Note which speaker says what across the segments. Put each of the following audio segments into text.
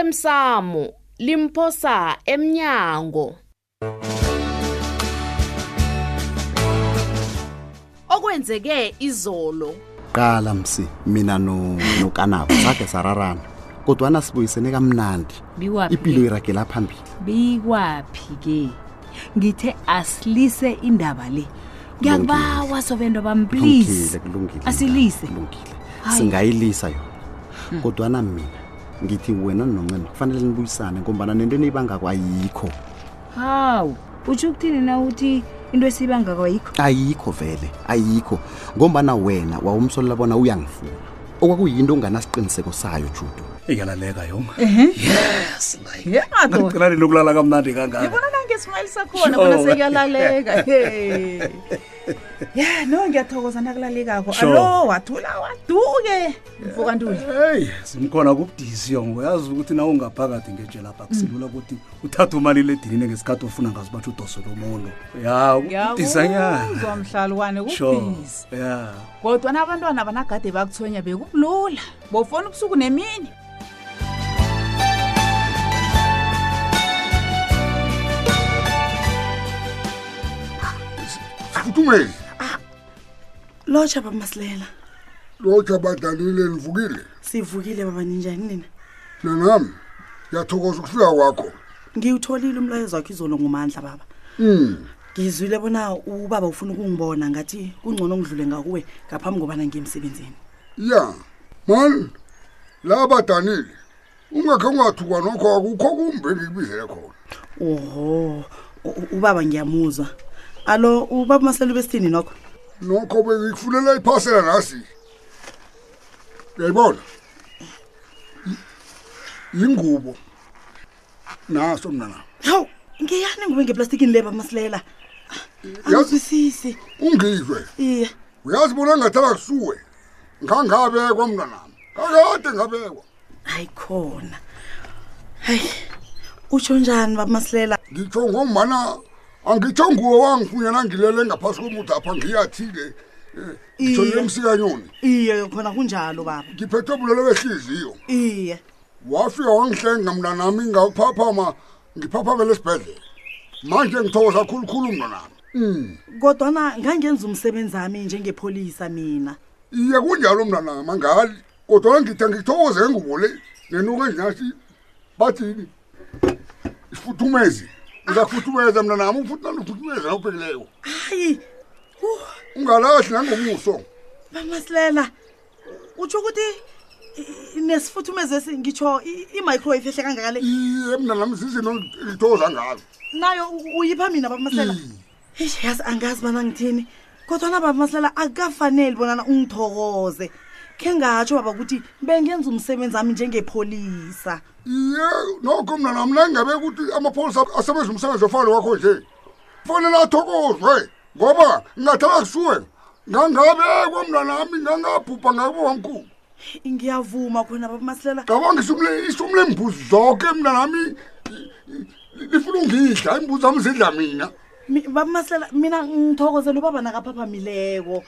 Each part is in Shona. Speaker 1: osemsamo limphosa emnyango okwenzeke izolo
Speaker 2: qala msi mina no- nokanabo sakhe sararana kodwana sibuyisene kamnandi ipilo
Speaker 3: bikwaphi
Speaker 2: iragela phambili
Speaker 3: bikwaphi ke ngithe asilise indaba le ngiyakubawa sobento bam please
Speaker 2: Kulungile, kulungile
Speaker 3: asilise
Speaker 2: kulungile
Speaker 3: Hayi. Hmm.
Speaker 2: singayilisa yona kodwana mina ngithi wena noncema kufanele nibuyisane ngombana nento eniyibangako ayikho
Speaker 3: hawu utsho ukuthini na uthi into esiyibangakwa yikho
Speaker 2: ayikho vele ayikho ngombana wena wawumsolela bona uyangifuna okwakuyinto onganasiqiniseko sayo judu
Speaker 4: iyalaleka yonga yes ngicela nini ukulala kamnandi kangaka
Speaker 5: ngibona nangesmayile sakhona bona
Speaker 4: Sure.
Speaker 5: sekuyalaleka Hey. ya no ngiyathokoza nakulalekako
Speaker 4: Sure.
Speaker 5: alo wathula waduke mvuka ntuli
Speaker 4: heyi simkhona kubudisi yonga uyazi ukuthi nawe ungaphakathi ngejelapha kusilula ukuthi uthathe umalile edinini ngesikhathi ofuna ngazo batsho udosele umuntu ya kubudisanyana
Speaker 5: mhlalwane
Speaker 4: sure
Speaker 5: kubhizi
Speaker 4: ya
Speaker 5: kodwa nabantwana banagade bakuthonya bekulula bofona ubusuku nemini
Speaker 6: Futhumele,
Speaker 7: lotsha bamasilela
Speaker 6: lotsha badlalile nivukile.
Speaker 7: sivukile baba ninjani nina
Speaker 6: Nanami ngiyathokoza ukufika kwakho.
Speaker 7: ngiwutholile umlayezo wakho izolo ngumandla baba
Speaker 6: Mm.
Speaker 7: ngizwile bona ubaba ufuna ukungibona ngathi kungcono ngidlule ngakuwe ngaphambi kobana ngiye emsebenzini
Speaker 6: Ya. Man, laba danile. Ungakho ungathukwa nokho akukho kumbe ngikubizele khona.
Speaker 7: oho u- u- ubaba ngiyamuzwa alo ubaba masilela ubesithini nokho
Speaker 6: Nokho bengikufunela iphasela nasi. Uyayibona? Y- Ingubo. Naso mna.
Speaker 7: hawu ngiyani ngube ngeplastikini le bamasilela
Speaker 6: Yazi
Speaker 7: angizwisisi
Speaker 6: ungizwe.
Speaker 7: iye
Speaker 6: Uyazi bona ngathala kusuwe. Ngangabekwa mna nami. Kakade ngabekwa.
Speaker 7: hayi khona hayi utsho njani bamasilela
Speaker 6: ngitsho ngombana angitsho nguwe wangifunyana ngilele ngaphasi komuthi apha ngiyathile Eh, ngitsho
Speaker 7: Iye.
Speaker 6: lemsikanyoni
Speaker 7: iye khona kunjalo baba
Speaker 6: ngiphethwe bulelo behliziyo
Speaker 7: iye
Speaker 6: wafika wangihlenga mna nami ngaphaphama ngiphaphamele esibhedlela manje ngithokoza khulukhulu mna nami Mm.
Speaker 7: kodwana ngangenza umsebenzi ami njengepholisa mina
Speaker 6: iye kunjalo mna nami angali kodwana ngithe ngithokoze ngubo le nenuka enjinasi bathini isifuthumezi ngizafuthumeza mna nami ufuthumeza nawubhekileko
Speaker 7: hayi uh,
Speaker 6: ungalahli nangomuso
Speaker 7: bamasilela utsho ukuthi i- i- nesifuthumezesi ngitsho i- i-microwave ehle kangakale
Speaker 6: iye mna nami zizinto ngithokoza ngazo
Speaker 7: nayo u- uyipha mina bamasilela eish yazi angazi bana ngithini kodwana bamasilela akukafaneli bonana ungithokoze khe ngatsho baba ukuthi bengenza umsebenzi ami njengepholisa
Speaker 6: iye nokho mna nami nangabe ukuthi amapholisa asebenza umsebenzi ofana wakho nje kufanele athokozwe ngoba ngingathala kusuwe ngangabekwa mna nami ngangabhubha ngakubo wamkhulu
Speaker 7: ngiyavuma khona bamasilela
Speaker 6: cabanga isumle- isumu lembuzi zonke mna nami i- i- lifuna ungidla imbuzi zami zidla mina
Speaker 7: bamasilela mina ngithokozela ubaba nakaphaphamileko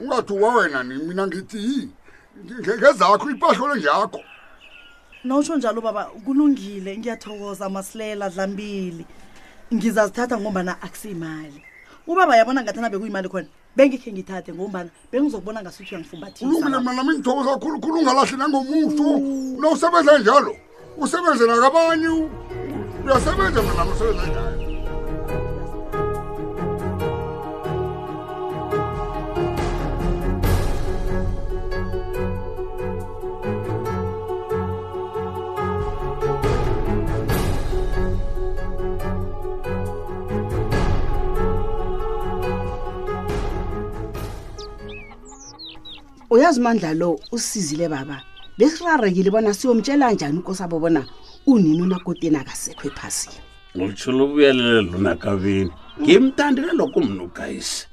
Speaker 6: ungathuka wena ni mina ngithi yi nge- ngezakho ipahlole njakho
Speaker 7: nawutsho njalo baba kulungile ngiyathokoza masilela dlambili ngizazithatha ngombana akusiyimali ubaba yabona ngathana bekuyimali khona bengikhe ngithathe ngombana bengizokubona ngasuthi
Speaker 6: ulungile
Speaker 7: uyangifumbathisa
Speaker 6: mna nami ngithokoza khulukhulu ungalahli nangomuso nawusebenza njalo usebenze nakabanye u- uyasebenza mna nami usebenza njalo
Speaker 8: uyazi mandla lo usizile baba besirarekile bona siyomtshela njani ukosabo bona unini unakoteni akasekho ephasini
Speaker 9: ngilitsholo ubuyelele lona kabini ngimtandile lokho mnugayisi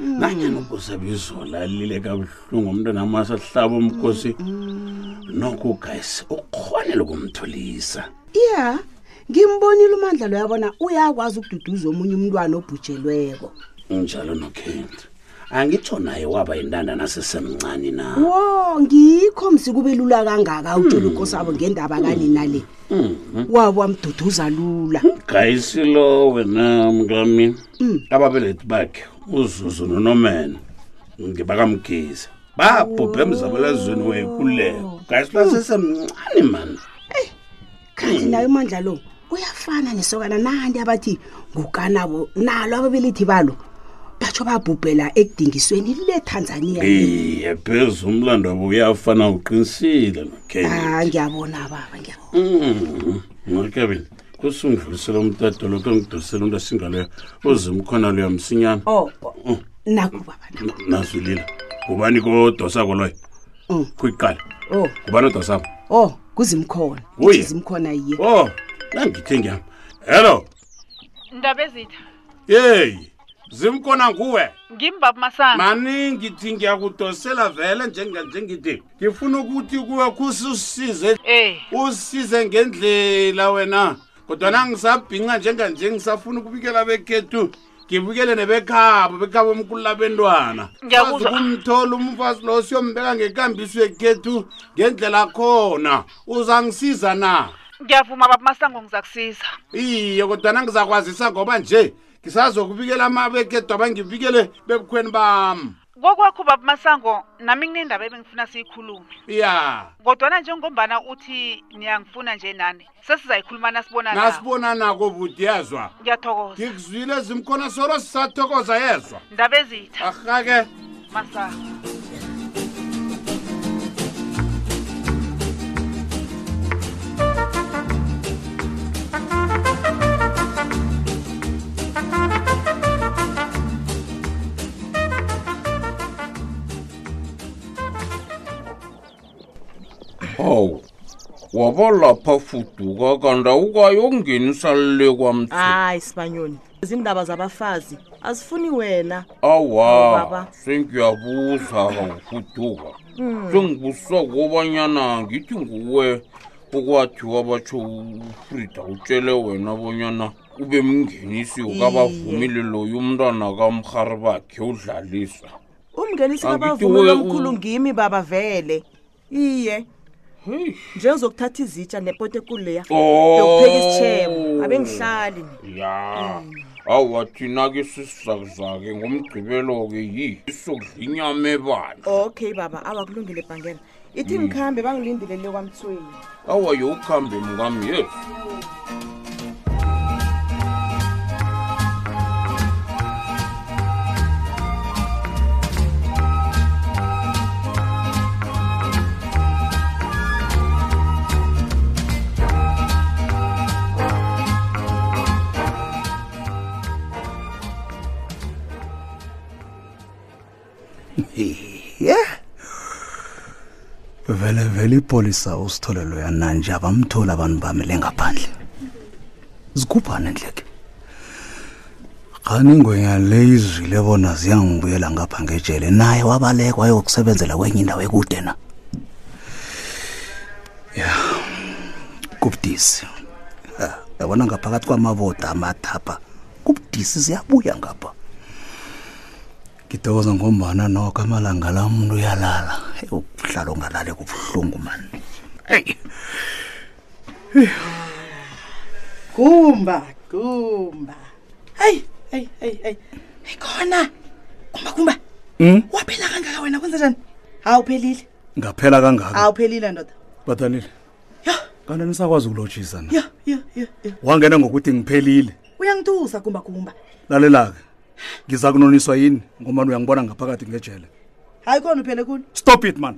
Speaker 8: Mm.
Speaker 9: nanyani ukuzabizola alile kabuhlungu umntwana amasahlaba umkhosi
Speaker 8: Mm,
Speaker 9: noko ugayisi ukhonele ukumtholisa
Speaker 8: iya ngimbonile umandla lo yabona uyakwazi ukududuza omunye umntwana obhujelweko
Speaker 9: unjalo nokhendi
Speaker 6: angitsho naye waba yintandana sesemncane na
Speaker 10: wo ngikho msikube lula kangaka utshela
Speaker 6: Hmm.
Speaker 10: unkosabo ngendaba kani nale wawamduduza lula Hmm.
Speaker 6: gayisilo Hmm, wena mkamini ababelethi bakhe uzuzu nonomena ngibakamgeza babhubhe emzabalazweni weyikuleko gayisilo sesemncane mani Hmm.
Speaker 10: kanti Hmm. Eh, nayo umandla lo uyafana nesokana nanti abathi ngukanabo nalo ababelethi balo batsho babhubhela ekudingisweni letanzania le.
Speaker 6: iye pheze umlando wabo uyafana uqinisile Mm, nokevin
Speaker 10: Ah, ngiyabona baba ngiyabona
Speaker 6: nokevin kusungidlulisela umtato lokho engidlulisela umntu asingaleyo uzimkhona leyo msinyana
Speaker 10: oh oh, naku baba naku.
Speaker 6: nazulile ngubani kodosako loyo
Speaker 10: Mm.
Speaker 6: kuyiqala
Speaker 10: oh
Speaker 6: ngubani odosako
Speaker 10: oh kuzimkhona
Speaker 6: Uye.
Speaker 10: kuzimkhona yiye
Speaker 6: o nangithe ngiyam Oh, hello
Speaker 11: ndaba ezitha
Speaker 6: yeyi zimkona nguwe
Speaker 11: ngimbaba masana
Speaker 6: maningi thi ngiyakudosela vele njenganjengide ngifuna ukuthi kuwe kususize
Speaker 11: Eh.
Speaker 6: usize ngendlela wena kodwana ngisabhinca njenganje ngisafuna ukubikela bekhethu ngibikele nebekhabo bekhabo omkhulu labentwana
Speaker 11: Ngiyakuzwa.
Speaker 6: kumthola umfazi lo siyombeka ngekambiso yekhethu ngendlela khona uzangisiza na
Speaker 11: ngiyavuma baba masango ngizakusiza
Speaker 6: iye kodwana ngizakwazisa ngoba nje ngisazokubikela amabekhethu abangibikele bebukhweni bami
Speaker 11: kokwakho baba masango nami kunendaba ebengifuna siyikhulume
Speaker 6: ya
Speaker 11: kodwana njengombana uthi niyangifuna nje nani sesizayikhuluma nasibonana
Speaker 6: nasibonanako budi yezwa
Speaker 11: ngiyathokoza
Speaker 6: ngikuzwile zimkhona solo sisathokoza yezwa
Speaker 11: ndaba ezitha
Speaker 6: arhake
Speaker 11: masango
Speaker 9: hawu waba lapha fuduka kanti awukayongenisa le kwamthi
Speaker 12: hayi sibanyoni izindaba zabafazi azifuni wena
Speaker 9: awa
Speaker 12: baba.
Speaker 9: sengiyabuza kawufuduka
Speaker 12: Hmm.
Speaker 9: sengibusisa kobanyana ngithi nguwe okwathiwa batsho ufrida utshele wena bonyana ube mngenisi ukabavumile loyo umntwana kamrhari bakhe udlalisa
Speaker 12: umngenisi
Speaker 9: Angithi
Speaker 12: kabavumi
Speaker 9: we-
Speaker 12: omkhulu ngimi baba vele iye
Speaker 9: Hey.
Speaker 12: njengizokuthatha izitsha nepoto ekuleya
Speaker 9: Oh.
Speaker 12: yokupheka isitshebo abengihlali
Speaker 9: ya awa thina ke sisizakuzake ngomgqibelo-ke yi isokudlinyama ebandla
Speaker 12: okay baba awakulungile bhangela ithi
Speaker 7: Mm.
Speaker 12: ngikhambe bangilindilele kwamthweni
Speaker 9: awa yowukhambe mkami yesu
Speaker 4: ye vele vele ipolisa usithole loya nanje abamtholi abantu bamile ngaphandle zikhuphane ndleke khani ingwenya le izwile bona ziyangibuyela ngapha ngejele naye wabaleka wayokusebenzela kwenye indawo ekude na ya kubudisi Ha, yabona ngaphakathi kwamavoda amathapha kubudisi ziyabuya ngapha ngithokoza ngombana nokho amalanga la muntu uyalala Eyi, ukuhlala ungalali kubuhlungu mani eyi
Speaker 7: gumba gumba hayi hayi hayi hayi hayi khona gumba gumba
Speaker 4: Mm?
Speaker 7: waphela kangaka wena kwenza njani awuphelile
Speaker 4: ngaphela kangaka
Speaker 7: awuphelile ndoda
Speaker 4: batalile
Speaker 7: Yho.
Speaker 4: kanti nisakwazi ukulotshisa na
Speaker 7: yo yo yo yo
Speaker 4: wangena ngokuthi ngiphelile
Speaker 7: uyangitusa gumba gumba
Speaker 4: lalela-ke ngiza kunoniswa yini ngomani uyangibona ngaphakathi ngejele
Speaker 7: hayi khona uphele kulo
Speaker 4: stop it man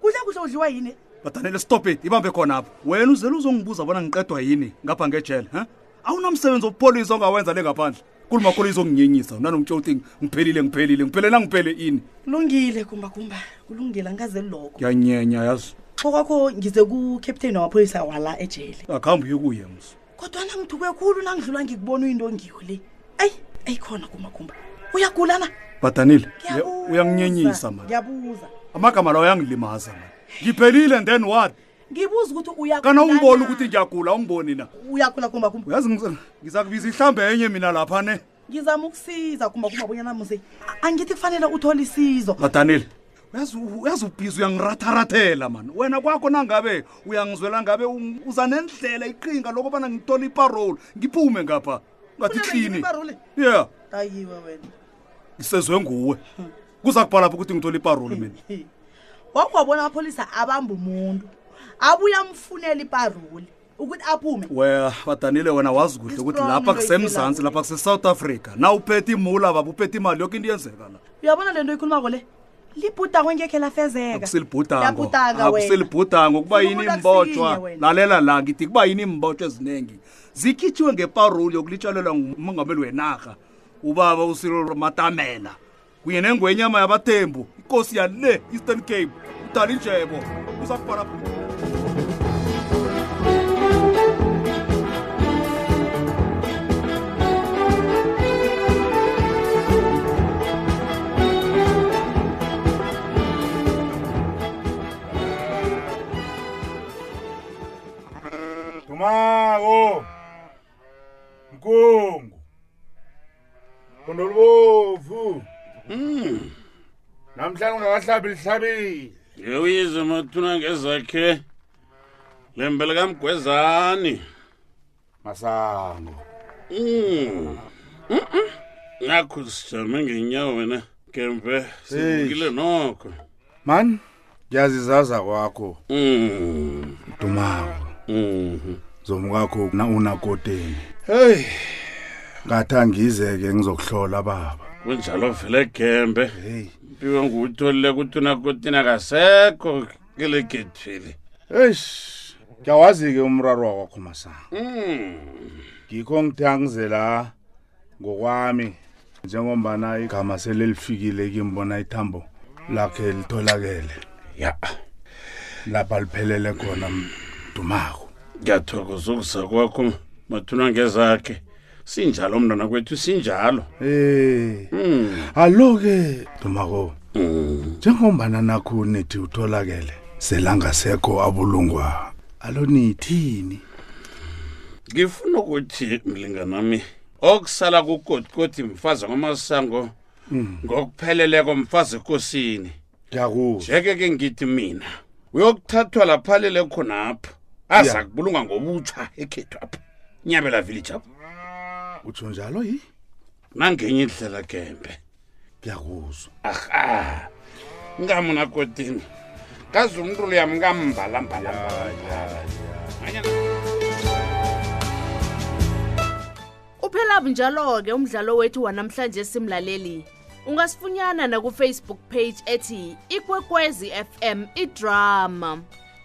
Speaker 7: kudla kuhle udliwa yini
Speaker 4: batanele stop it ibambe khona apho wena uzele uzongibuza bona ngiqedwa yini ngapha ngejele ha awunamsebenzi wobupholisa ongawenza le ngaphandle kulumakhulu izonginyenyisa unanongitsho uthi ngiphelile ngiphelile ngiphelela ngiphele ini
Speaker 7: kulungile gumba gumba kulungile angikazeli lokho
Speaker 4: ngiyanyenya yazi
Speaker 7: okwakho ngize kucaptain wamapholisa wala ejele
Speaker 4: akuhambe uye kuye mso
Speaker 7: kodwana ngithuke khulu nangidlula ngikubona uyinto ngiyo le ayi ayikhona gumba gumba uyagula na
Speaker 4: badanile uya-
Speaker 7: Ngiyabuza,
Speaker 4: uyanginyenyisa mani
Speaker 7: ngiyabuza
Speaker 4: amagama lawo uyangilimaza mani ngiphelile then what
Speaker 7: ngibuza ukuthi uyagula
Speaker 4: kana ungiboni
Speaker 7: na?
Speaker 4: ukuthi ngiyagula ungiboni na
Speaker 7: uyakhula gumba gumba
Speaker 4: uyazi ngiz- ngiza kubiza ihlambe enye mina lapha ne
Speaker 13: ngizama ukusiza kumba kumba bonyana muze a- angithi kufanele uthole isizo
Speaker 4: madanile uyazi u- uyazi ubhizi uyangiratharathela mani wena kwakho nangabe uyangizwela ngabe u- uza nendlela iqinga lokubana ngitole iparoli ngiphume ngapha ngathi klini yeah
Speaker 13: ayiwe wena
Speaker 4: ngisezwe nguwe kuza kubhalapha ukuthi ngithole iparoli mina
Speaker 13: wakwabona amapholisa abamba umuntu abuye amfunela iparoli ukuthi aphume
Speaker 4: wea badanile wena wazi kuhle ukuthi
Speaker 13: Isitolo
Speaker 4: lapha
Speaker 13: into
Speaker 4: kusemzantsi lapha kusesouth africa na uphethe imula baba uphethe imali yonke into yenzeka la
Speaker 13: uyabona le nto ikhulumako le libhudango engekhe lafezeka
Speaker 4: akusilibhudango
Speaker 13: Liyabhudanga wena.
Speaker 4: akusilibhudango kuba yini
Speaker 13: Umuntu akusiye
Speaker 4: imbotshwa
Speaker 13: wena.
Speaker 4: lalela la ngithi kuba yini imbotshwa eziningi zikhitshiwe ngeparoli yokulitshalelwa ngumongameli wenarha ubaba usiril matamela kunye nengwenyama yabathembu ikosi yale eastern cape udala injebo uza kubhala
Speaker 2: dumako nkungu kondolubovu
Speaker 6: Hmm.
Speaker 2: namhlanje ungakahlabi lihlabile
Speaker 9: ngewuyize mathuna ngezakhe lembe likamgwezani masango nakho sijame ngenyawo wena gembe sivukile nokho
Speaker 2: mani ngiyazizaza kwakho Mm. dumako Mm-hmm. zomu kwakho na- unakoteni heyi ngathi angize-ke ngizokuhlola baba
Speaker 9: kunjalo vele gembe mpiwe nguwutholile kuthi unakotina kasekho kele gethile
Speaker 2: eish ngiyawazi-ke umraro wakwakho masana
Speaker 9: Mm.
Speaker 2: ngikho ngithi angizela ngokwami njengombana igama selelifikile kimbona ithambo lakhe litholakele
Speaker 9: ya
Speaker 2: lapha liphelele khona mdumako
Speaker 9: ngiyathokoza ukuza kwakho mathuna ngezakhe sinjalo mntwana kwethu sinjalo
Speaker 2: Eh. Aloke Dumako. Njengombana nakho nithi utholakele selanga sekho abulungwa. Alo nithini?
Speaker 9: ngifuna ukuthi mlinganami okusala kugodigodi mfazi kwamasango
Speaker 2: Mm.
Speaker 9: ngokupheleleko mfazi ekosini
Speaker 2: Ngiyakuzwa.
Speaker 9: njeke ke ngithi mina uyokuthathwa laphalele khonapha aza
Speaker 2: Ya.
Speaker 9: kubulungwa ngobutsha ekhethwapha nyabela village apho
Speaker 2: utsho njalo yi
Speaker 9: nangenye indlela gembe
Speaker 2: ngiyakuzwa
Speaker 9: aha ngamunakotini kaze umntu luyam kambalambalambala
Speaker 1: Uphela bunjalo-ke umdlalo wethu wanamhlanje simlaleli. Ungasifunyana nakufacebook page ethi ikwekwezi FM idrama.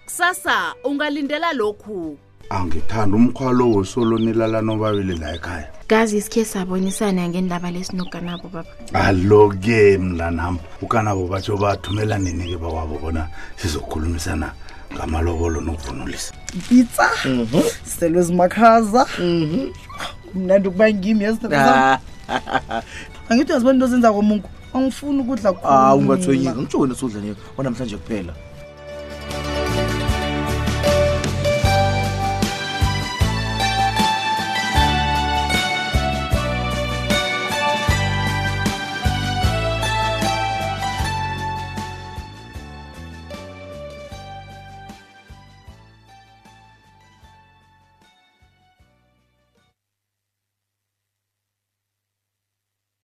Speaker 1: Kusasa ungalindela lokhu.
Speaker 2: Angithanda umkhwalo wosolo nilala nobabili la ekhaya.
Speaker 14: gazi isikhe sabonisana ngendaba lesinuka nabo baba
Speaker 2: Aloke mlanami. Ukanabo batsho bathumela nini ke bawabo bona sizokhulumisana ngamalobolo nokuvunulisa.
Speaker 15: mpitsa selwezimakhaza
Speaker 13: Mhm.
Speaker 15: mnandi ukuba ngim
Speaker 16: Ah.
Speaker 15: angithi uyazibona into ozenza komunku angifuni ukudla
Speaker 16: awu ungathwenyeki ngitsho wena sudla neo wanamhlanje kuphela